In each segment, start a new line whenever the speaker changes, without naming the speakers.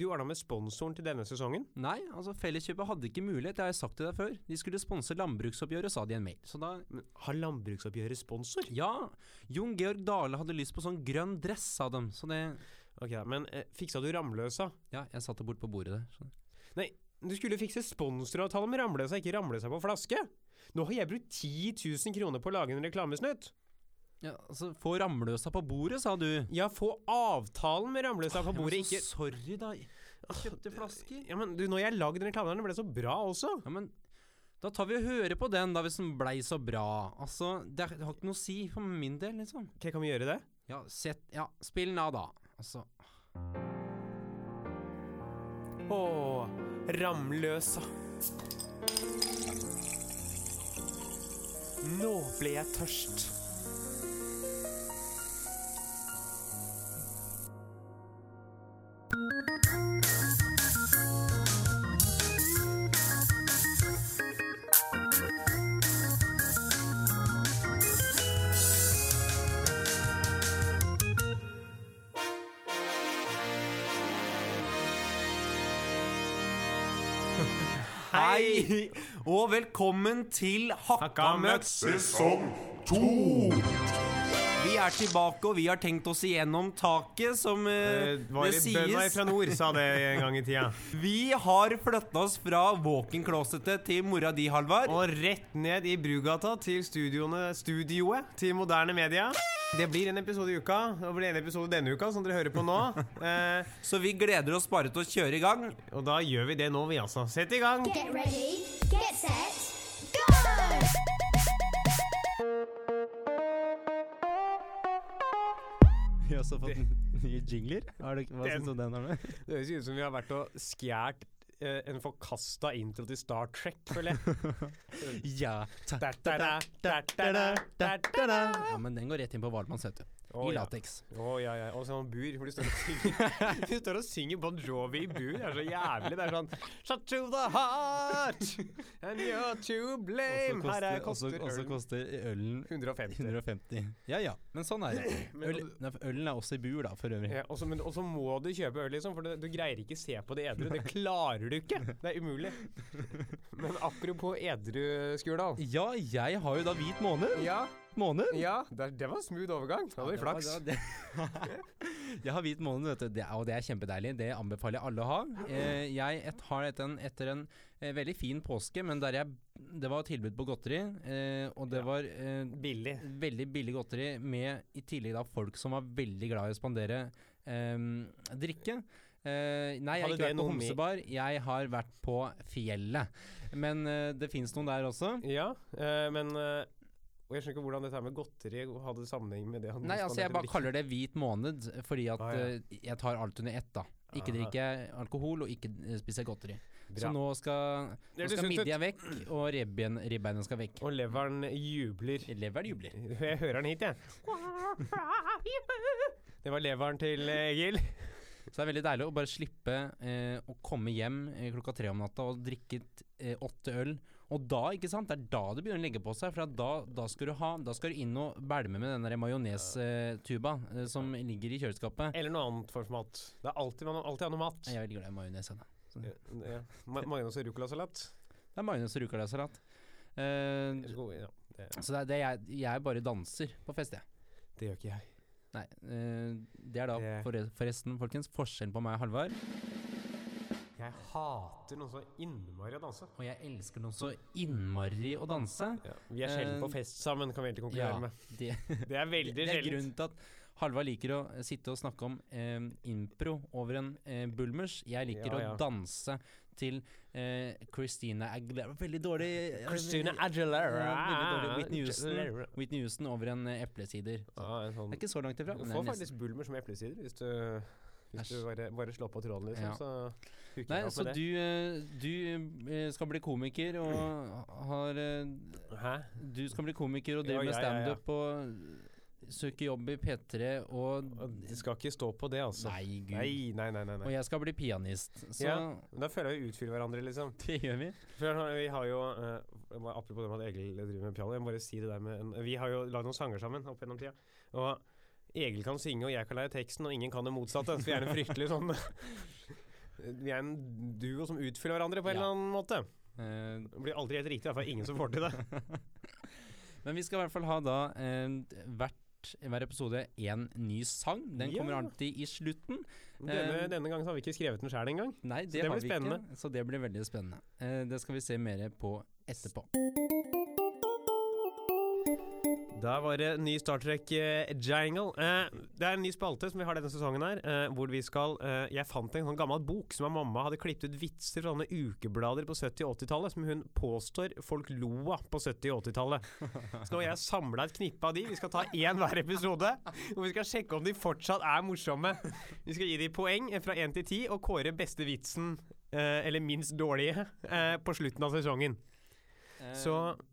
du ordna med sponsoren til denne sesongen?
Nei, altså Felleskjøpet hadde ikke mulighet, det har jeg sagt til deg før. De skulle sponse landbruksoppgjøret, sa de i en mail. Så da
Men har landbruksoppgjøret sponsor?
Ja, Jon Georg Dale hadde lyst på sånn grønn dress, sa dem. Så det
Ok, da, Men eh, fiksa du Ramløsa?
Ja, jeg satte bort på bordet der. Så.
Nei, du skulle fikse sponsoravtale med Ramløsa, ikke Ramløsa på flaske! Nå har jeg brukt 10 000 kroner på å lage en reklamesnutt!
Ja, altså, få Ramløsa på bordet, sa du.
Ja, få avtalen med Ramløsa på bordet, ikke
Sorry, da. Jeg kjøpte flasker.
Ja, men du, når jeg lagde den reklamen, her, den ble så bra også!
Ja, men da tar vi og hører på den, da, hvis den blei så bra. Altså, det har ikke noe å si for min del, liksom.
Ok, kan vi gjøre det?
Ja, sett Ja, spill den av, da. Altså
Å, Ramløsa. Nå ble jeg tørst.
Hei, og velkommen til Hakka møkk.
Sesong to!
Vi er tilbake, og vi har tenkt oss igjennom taket, som eh, det sies.
nord sa det en gang i tida.
Vi har flytta oss fra walk-in-closetet til mora di, Halvard.
Og rett ned i Brugata til studioene, studioet til moderne media. Det blir en episode i uka. Det blir en episode denne uka, som dere hører på nå. Eh,
Så vi gleder oss bare til å kjøre i gang.
og da gjør vi det nå, vi altså. Sett i gang.
Get ready, get set, go!
Vi har også fått nye jingler. Har du, hva syns du om den? Arne?
Det høres ut som vi har vært og skjært eh, en forkasta intro til Star Trek, føler jeg.
Ja. ta-
Da, da, da, da, da, da, da, da, da.
Ja, men den går rett inn på Hvalmanns, vet du.
Å,
I
ja.
lateks.
Å, ja, ja. Og sånn bur hvor de står og synger, de står og synger Bon Jovi i bur. Det er så jævlig. Det er sånn Shut to the heart and you're to blame.
Også
Her er,
koster-
koster
også- også
ølen
koster ølen
150.
150. Ja ja, men sånn er det. Øl, nei, for ølen er også i bur, da, for øvrig.
Ja, og så- men- og så må du kjøpe øl, liksom, for det, du greier ikke se på det edru. Det klarer du ikke. Det er umulig. Men apropos edru, Skurdal.
Ja, jeg har jo da hvit måned.
Ja,
Måned?
ja det, det var smooth overgang. Da hadde vi flaks.
Ja, det- Jeg har hvit måned, vet du, det, er- og det er kjempedeilig. Det anbefaler jeg alle å ha. Eh, Jeg et, har et, en, etter en eh, veldig fin påske, men der jeg Det var tilbud på godteri, eh, og det var eh,
Billig.
veldig billig godteri med i tillegg da folk som var veldig glad i å spandere ehm, drikke. Eh, nei, jeg har
Hadde
ikke
det
vært på
noe med-
homsebar, jeg har vært på fjellet. Men eh, det fins noen der også.
Ja, eh, men eh, og Jeg skjønner ikke hvordan dette her med godteri hadde sammenheng med det han
Nei, altså jeg bare kaller det hvit måned, fordi at
Ah, ja.
eh, jeg tar alt under ett, da. Ikke
Ah.
drikker jeg alkohol, og ikke eh, spiser jeg godteri.
Bra.
Så nå skal,
Det
nå
hørtes
skal
ut-
midja vekk, og ribbein- ribbeina skal vekk.
Og leveren jubler.
Leveren jubler.
Jeg hører den hit, jeg. Det var leveren til eh, Egil.
Så det er veldig deilig å bare slippe eh, å komme hjem eh, klokka tre om natta og drikke t- eh, åtte øl. Og da, ikke sant, det er da det begynner å legge på seg. For at da, da, skal du ha, da skal du inn og bælme med den der majonestuba eh, som ligger i kjøleskapet.
Eller noe annet format. Det er alltid, man, alltid har noe mat.
Jeg er veldig glad i majones. jeg, da.
Ja. Ma- Majones og ruccolasalat.
Det er majones og rucolasalat. Eh,
Så god- Ja, det,
så det er, det er, jeg, jeg bare danser på fest, jeg.
det gjør ikke jeg.
Nei, eh, det er da
Det-
forre- forresten, folkens, forskjellen på meg og Halvard.
Jeg hater noen så innmari å danse.
Og jeg elsker noe så innmari å danse.
Ja, vi er sjelden
Eh,
på fest sammen, kan vi egentlig konkurrere med.
det
Det er veldig
Det er
sjeldent.
grunnen til at Halvard liker å sitte og snakke om eh, impro over en eh, bulmers. Jeg liker
Ja, ja.
å danse til eh, Christina Aguilera Veldig dårlig eh,
Christina
Ja, veldig
Aguilera.
dårlig. Whitney Houston,
Aguilera.
Whitney Houston over en eh, eplesider. Det
Ja, en sånn
er ikke så langt ifra.
Du
men det
får
er nesten.
faktisk bulmer som eplesider hvis du, hvis
Æsj.
du bare, bare slår på tråden, liksom.
Ja.
Så hooker
Nei,
jeg opp
så
med
du, eh, du eh, skal bli komiker og har eh,
det. Hæ?
Du skal bli komiker og
Ja,
driver med
ja, ja, ja.
standup og søker jobb i P3 og
Det skal ikke stå på det, altså.
Nei, gud.
Nei, nei, nei. nei,
Og
nei.
jeg skal bli pianist. Så
Ja. Men Da føler jeg vi utfyller hverandre, liksom.
det gjør vi.
For vi har jo eh, jeg må- Apropos det med at Egil driver med piano, jeg må bare si det der med en, Vi har jo lagd noen sanger sammen opp gjennom tida. Og Egil kan synge, og jeg kan lære teksten, og ingen kan det motsatte. Så vi er en fryktelig sånn Vi er en duo som utfyller hverandre på en
Ja.
eller annen måte.
Eh,
Det blir aldri helt riktig, i hvert fall ingen som får til det.
Men vi skal i hvert fall ha da eh, hvert, hver episode én ny sang. Den
Ja.
kommer alltid i slutten.
Denne,
Eh,
denne gangen så har vi ikke skrevet den sjæl engang.
Nei, det,
det
har
blir
vi
spennende.
ikke, så det blir veldig spennende. Eh, det skal vi se mer på etterpå.
Da var det ny Star Trek-jangle. Eh, det er en ny spalte som vi har denne sesongen her, eh, hvor vi skal eh, Jeg fant en sånn gammel bok som mamma hadde klippet ut vitser fra sånne ukeblader på 70- og 80-tallet, som hun påstår folk lo av på 70- og 80-tallet. Så nå har jeg samla et knippe av de. Vi skal ta én hver episode, og vi skal sjekke om de fortsatt er morsomme. Vi skal gi de poeng eh, fra én til ti, og kåre beste vitsen, eh, eller minst dårlige, eh, på slutten av sesongen.
Eh,
Så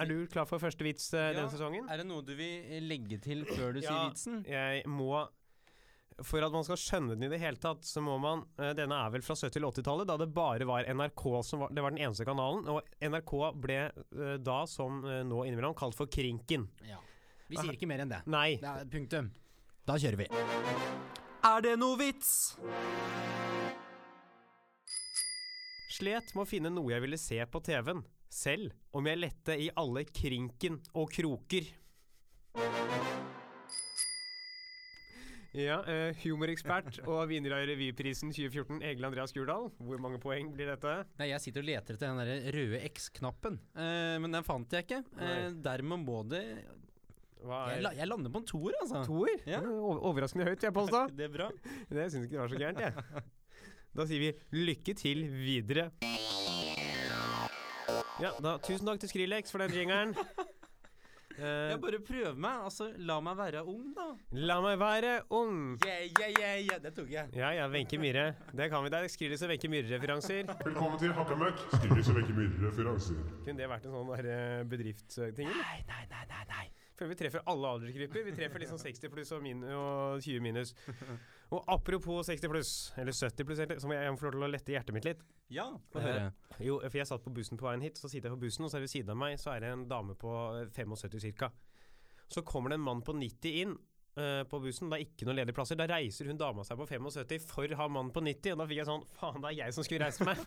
er du klar for første vits eh,
Ja.
denne sesongen?
er det noe du vil legge til før du sier
Ja.
vitsen?
Jeg må For at man skal skjønne den i det hele tatt, så må man eh, Denne er vel fra 70- til 80-tallet, da det bare var NRK som var Det var den eneste kanalen. Og NRK ble eh, da, som eh, nå innimellom, kalt for Krinken.
Ja. Vi sier ikke mer enn det.
Nei.
Det er punktum. Da kjører vi. Er det noe vits?
Slet med å finne noe jeg ville se på TV-en, selv om jeg lette i alle krinken og kroker. Ja, eh, humorekspert og vinner av revyprisen 2014, Egil Andreas Gurdal. Hvor mange poeng blir dette?
Nei, jeg sitter og leter etter den der røde X-knappen, eh, men den fant jeg ikke. Eh, dermed må det
Hva
jeg, la, jeg lander på en toer, altså.
Toer?
Ja.
Ja. Overraskende høyt, jeg påstå.
Det er bra.
Det syns ikke det var så gærent, jeg. Da sier vi lykke til videre. Ja, da, tusen takk til Skrillex for den jingeren. Eh,
Jeg bare prøver meg. Altså, la meg være ung, da.
la meg være ung.
Yeah, yeah, yeah, yeah. Det tok jeg.
Ja, ja, Wenche Myhre. Det kan vi. Det er Skrillex og Wenche Myhre-referanser.
Velkommen til Hakkamøkk. Skriver så veldig mye referanser.
Kunne det vært en sånn der, eh, bedriftsting? eller?
Nei, nei, nei, nei, nei.
Føler vi treffer alle aldersgrupper. Vi treffer liksom 60 pluss og, min og 20 minus. Og apropos 60 pluss, eller 70 pluss, egentlig, så må jeg, jeg må få lov til å lette hjertet mitt litt.
Ja,
Få høre. Jo, for jeg satt på bussen på veien hit, så sitter jeg på bussen, og så er det ved siden av meg så er det en dame på eh, 75 cirka. Så kommer det en mann på 90 inn eh, på bussen, det er ikke noen ledige plasser. Da reiser hun dama seg på 75 for han mannen på 90, og da fikk jeg sånn faen, det er jeg som skulle reist meg.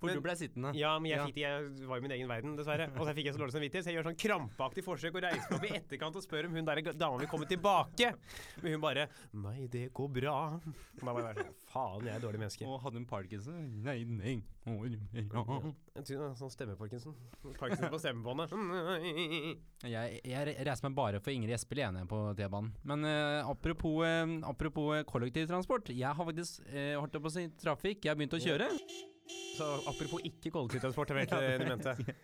For
Men-
du ble sittende.
ja, men jeg,
Ja.
fikk det, jeg var i min egen verden, dessverre. Og så fikk jeg så dårlig samvittighet, så jeg gjør sånn krampaktig forsøk å reise meg opp i etterkant og spørre om hun der dama vil komme tilbake. Men hun bare Nei, det går bra. Og Da var jeg bare sånn Faen, jeg er et dårlig menneske.
Og hadde hun parkinson? Nei, nei. Å, ja.
Jeg tror det er Sånn stemme, Parkinson. Parkinson på stemmebåndet.
Jeg, jeg re- reiser meg bare for Ingrid Espelid igjen jeg, på T-banen. Men eh, apropos, eh, apropos eh, kollektivtransport. Jeg har faktisk eh, holdt jeg på å si trafikk. Jeg har begynt å kjøre.
Så apropos ikke kollektivtransport, jeg vet ikke det du mente.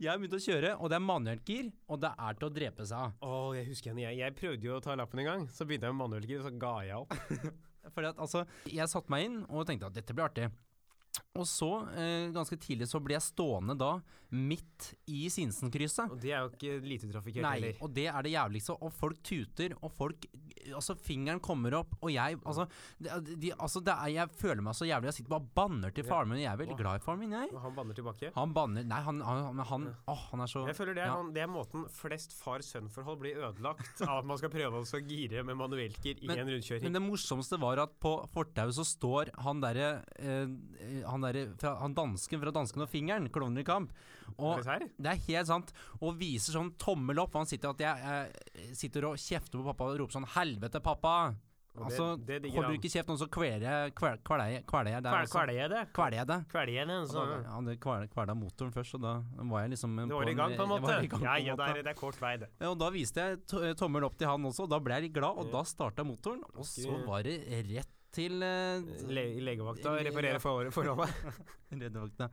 Jeg har begynt å kjøre, og det er manuelt gir, og det er til å drepe seg av.
Å, jeg husker henne. Jeg, jeg prøvde jo å ta lappen en gang, så begynte jeg med manuellgir, og så ga jeg opp.
Fordi at altså, jeg satte meg inn og tenkte at dette blir artig. Og så, eh, ganske tidlig, så ble jeg stående da midt i Sinsenkrysset.
Og det er jo ikke lite trafikkert
Nei,
heller.
og det er det jævligste. Og folk tuter, og folk Altså, fingeren kommer opp, og jeg Altså, det, er- de, altså det er, jeg føler meg så jævlig. Jeg sitter bare og banner til faren min. Jeg er veldig glad i faren min, jeg.
Og han banner tilbake.
Han banner Nei, han han, men han, åh, han er så
Jeg føler det er,
ja.
han, det er måten flest far-sønn-forhold blir ødelagt av at man skal prøve å så gire med manuellgir i
Men-
en rundkjøring.
Men det morsomste var at på fortauet så står han derre eh, han, derre fra- han dansken fra Dansken og fingeren, klovner i kamp.
Er
Og
det serr?
det er helt sant. Og viser sånn tommel opp. og Han sitter, at jeg, eh, sitter og kjefter på pappa og roper sånn 'Helvete, pappa!'
Og det-
altså,
det digger
holder
han.
du ikke kjeft nå, så kveler jeg kvel- kveler jeg- kveler jeg deg.
Kvel-
også. altså.
Kveler jeg det?
Kveler jeg deg.
Kveler jeg det? Så.
Han hadde kvel- kvela motoren først, og da var jeg liksom eh,
Det var i
en-
gang, på en
jeg
måte.
var i gang på
Ja,
en
ja, det
måte.
er, det er kort vei, det.
Ja, Og da viste jeg to eh, tommel opp til han også, og da ble jeg litt glad, og da starta motoren. Og så
Ok.
var det rett til eh,
Le legevakta
Le-
reparerer for forholdet.
redevakta.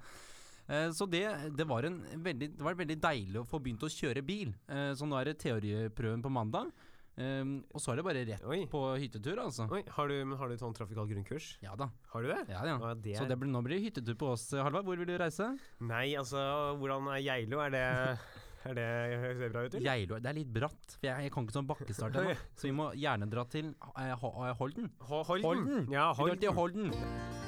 Eh, Så det, det, var en veldig, det var veldig deilig å få begynt å kjøre bil. Eh, Så nå er det teoriprøven på mandag, eh, og så er det bare rett
Oi.
på hyttetur, altså.
Oi, har du, men har du sånn trafikal grunnkurs?
Ja da.
Har du det?
Ja, ja.
Ja, det
Så
er-
det blir, nå blir det hyttetur på oss, eh, Halvard. Hvor vil du reise?
Nei, altså, hvordan er Geilo? Er det Er det Høres det bra ut, eller?
Geilo. Det er litt bratt, for jeg, jeg kan ikke sånn bakkestart ennå. Så vi må gjerne dra til eh, Ho- eh, Holden.
Ho- Holden.
Holden.
Ja,
Vi drar til
Holden.
Holden.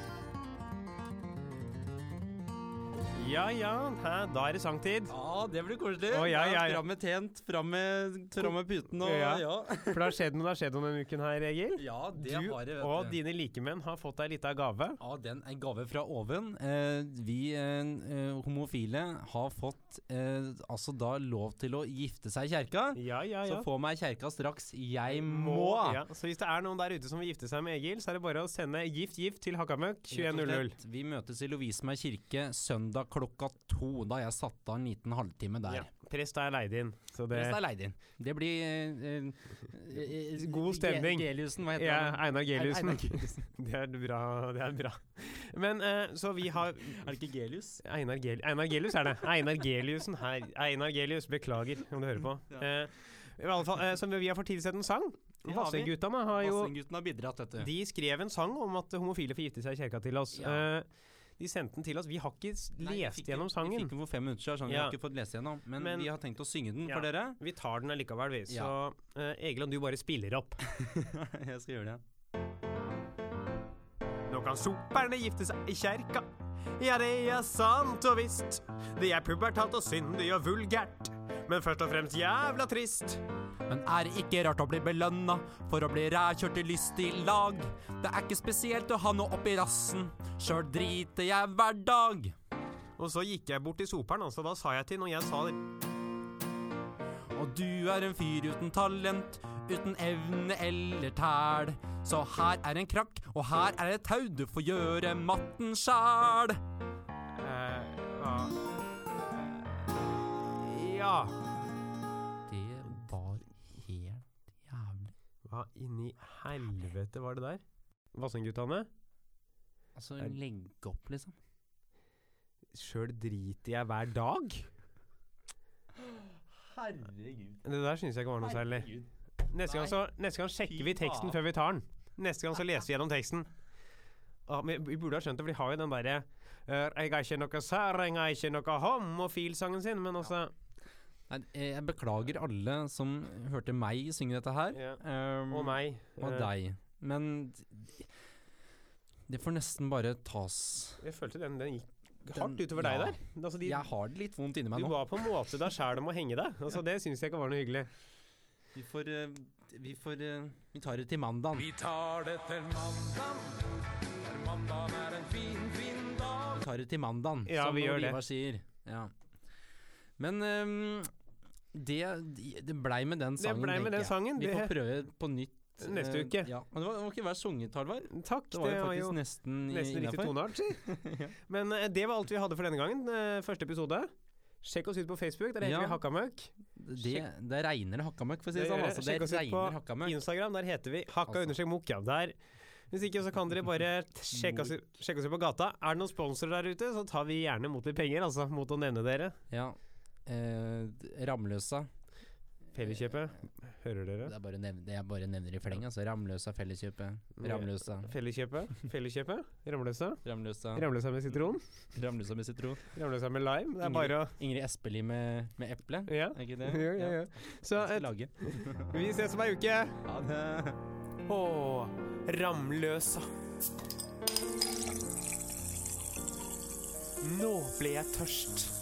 Ja ja, hæ, da er det sangtid.
Ja, det blir koselig.
Å, ja, ja, ja.
Fram med tent, fram med, fram med puten og
Ja.
Ja, ja.
For det har skjedd noe, det har skjedd noe denne uken her, Egil.
det
du
har jeg,
og
vet du.
dine likemenn har fått deg litt av gave.
Ja, den er gave fra oven. Eh, vi eh, eh, homofile har fått eh, altså da lov til å gifte seg i kjerka.
Ja, ja, ja.
Så få meg kjerka straks. Jeg må!
Må, ja. Så hvis det er noen der ute som vil gifte seg med Egil, så er det bare å sende gift gift til Hakkamøkk
Rett og
2100.
slett, Vi møtes i Lovisenberg kirke søndag klokka to. Da har jeg satt av en liten halvtime der.
Ja. Prest er leid inn, så det
Resten er leid inn. Det blir eh, eh, eh,
God stemning.
Ge- Geliusen, hva heter
ja,
han?
Einar Geliusen.
Einar Geliusen.
Det er bra. Det er bra. Men eh, så vi har
Er det ikke Gelius?
Einar, Gel Einar Gelius er det. Einar Geliusen her. Einar Gelius, beklager om du hører på.
Ja.
Eh, I alle fall, eh, så vi har for tidlig sett en sang.
Det har vi.
Vassendguttene har jo
Vassendgutten har bidratt, vet du.
De skrev en sang om at homofile får gifte seg i kirka til oss.
Ja.
Eh, de sendte den til oss. Vi har ikke s-
Nei, vi
lest
fikk-
gjennom
Vi
sangen.
fikk den for fem minutter siden, så vi
Ja.
har ikke fått lese gjennom. Men,
Men-
vi har tenkt å synge den
Ja.
for dere.
Vi tar den allikevel, vi. Så
Ja.
eh, Egil, om du bare spiller opp.
Jeg skal gjøre det.
Nå kan soperne gifte seg i kjerka. Ja, det er sant og visst. Det er pubertalt og syndig og vulgært. Men først og fremst jævla trist.
Men er det ikke rart å bli belønna for å bli rævkjørt i lystig lag? Det er ikke spesielt å ha noe oppi rassen, sjøl driter jeg hver dag.
Og så gikk jeg bort til soperen, altså. Da sa jeg til når jeg sa det.
Og du er en fyr uten talent, uten evne eller tæl. Så her er en krakk, og her er et tau, du får gjøre matten sjæl.
eh, ja. ja.
Det var helt jævlig.
Hva inni helvete var det der? Vassendguttene?
Altså, legge opp, liksom.
Sjøl driter jeg hver dag?
Herregud.
Det der syns jeg ikke var noe særlig. Neste gang, så, neste gang sjekker vi teksten før vi tar den. Neste gang så leser vi gjennom teksten. Ja, men vi burde ha skjønt det, for de har jo den derre eh, Jeg er ikke noe sær, jeg er ikke noe homofil-sangen sin, men altså
Nei, jeg beklager alle som hørte meg synge dette her.
ja.
Um,
Og meg.
Og
eh,
deg. Men d- det får nesten bare tas
Jeg følte den, den gikk
Den-
hardt utover deg
ja.
der. Altså, de,
Jeg har det litt vondt inni meg
du
nå.
var på en måte deg sjæl om å henge deg. Altså, det syns jeg ikke var noe hyggelig.
Vi får eh, Vi tar det til mandag. Vi tar det til mandag. For mandag er en fin, fin dag. Vi tar det til mandag,
Ja,
som
vi gjør det.
Ivar sier. Ja. Men ehm, det, det blei med den
Det
sangen,
blei med
tenker
den
jeg.
sangen.
Vi
Det,
får prøve på nytt.
Neste
eh,
uke.
Ja. Men det var, det var ikke hver sunget, Halvard.
takk,
Det var jo faktisk
jo
nesten,
Nesten riktig
innafor.
toneart, si. Men eh, det var alt vi hadde for denne gangen. eh, første episode. Sjekk oss ut på Facebook, der heter
Ja.
vi Hakkamøkk.
Det, det regner hakkamøkk, for å si
Det
det sånn.
gjør det.
Altså, det
Sjekk oss ut på
regner hakkamøkk.
Instagram, der heter vi Hakka
Altså.
understrek mokk. Ja, der. Hvis ikke, så kan dere bare t- sjekke oss, ut- sjekke oss ut på gata. Er det noen sponsorer der ute, så tar vi gjerne mot litt penger, altså. Mot å nevne dere.
Ja. Eh, Ramløsa.
Felleskjøpet. Hører dere?
Det er bare å nevne, det jeg bare nevner i fleng. Altså Ramløsa Felleskjøpet. Ramløsa.
Felleskjøpet. Felleskjøpet. Ramløsa.
Ramløsa.
Ramløsa med sitron.
Ramløsa med sitron.
Ramløsa med lime. Det er bare å
Ingrid Espelid med, med eple.
Ja.
Er ikke det?
Jo, jo, jo. Så eh,
Jeg skal
et,
lage.
vi ses om ei uke.
Ha det.
Å, Ramløsa. Nå ble jeg tørst.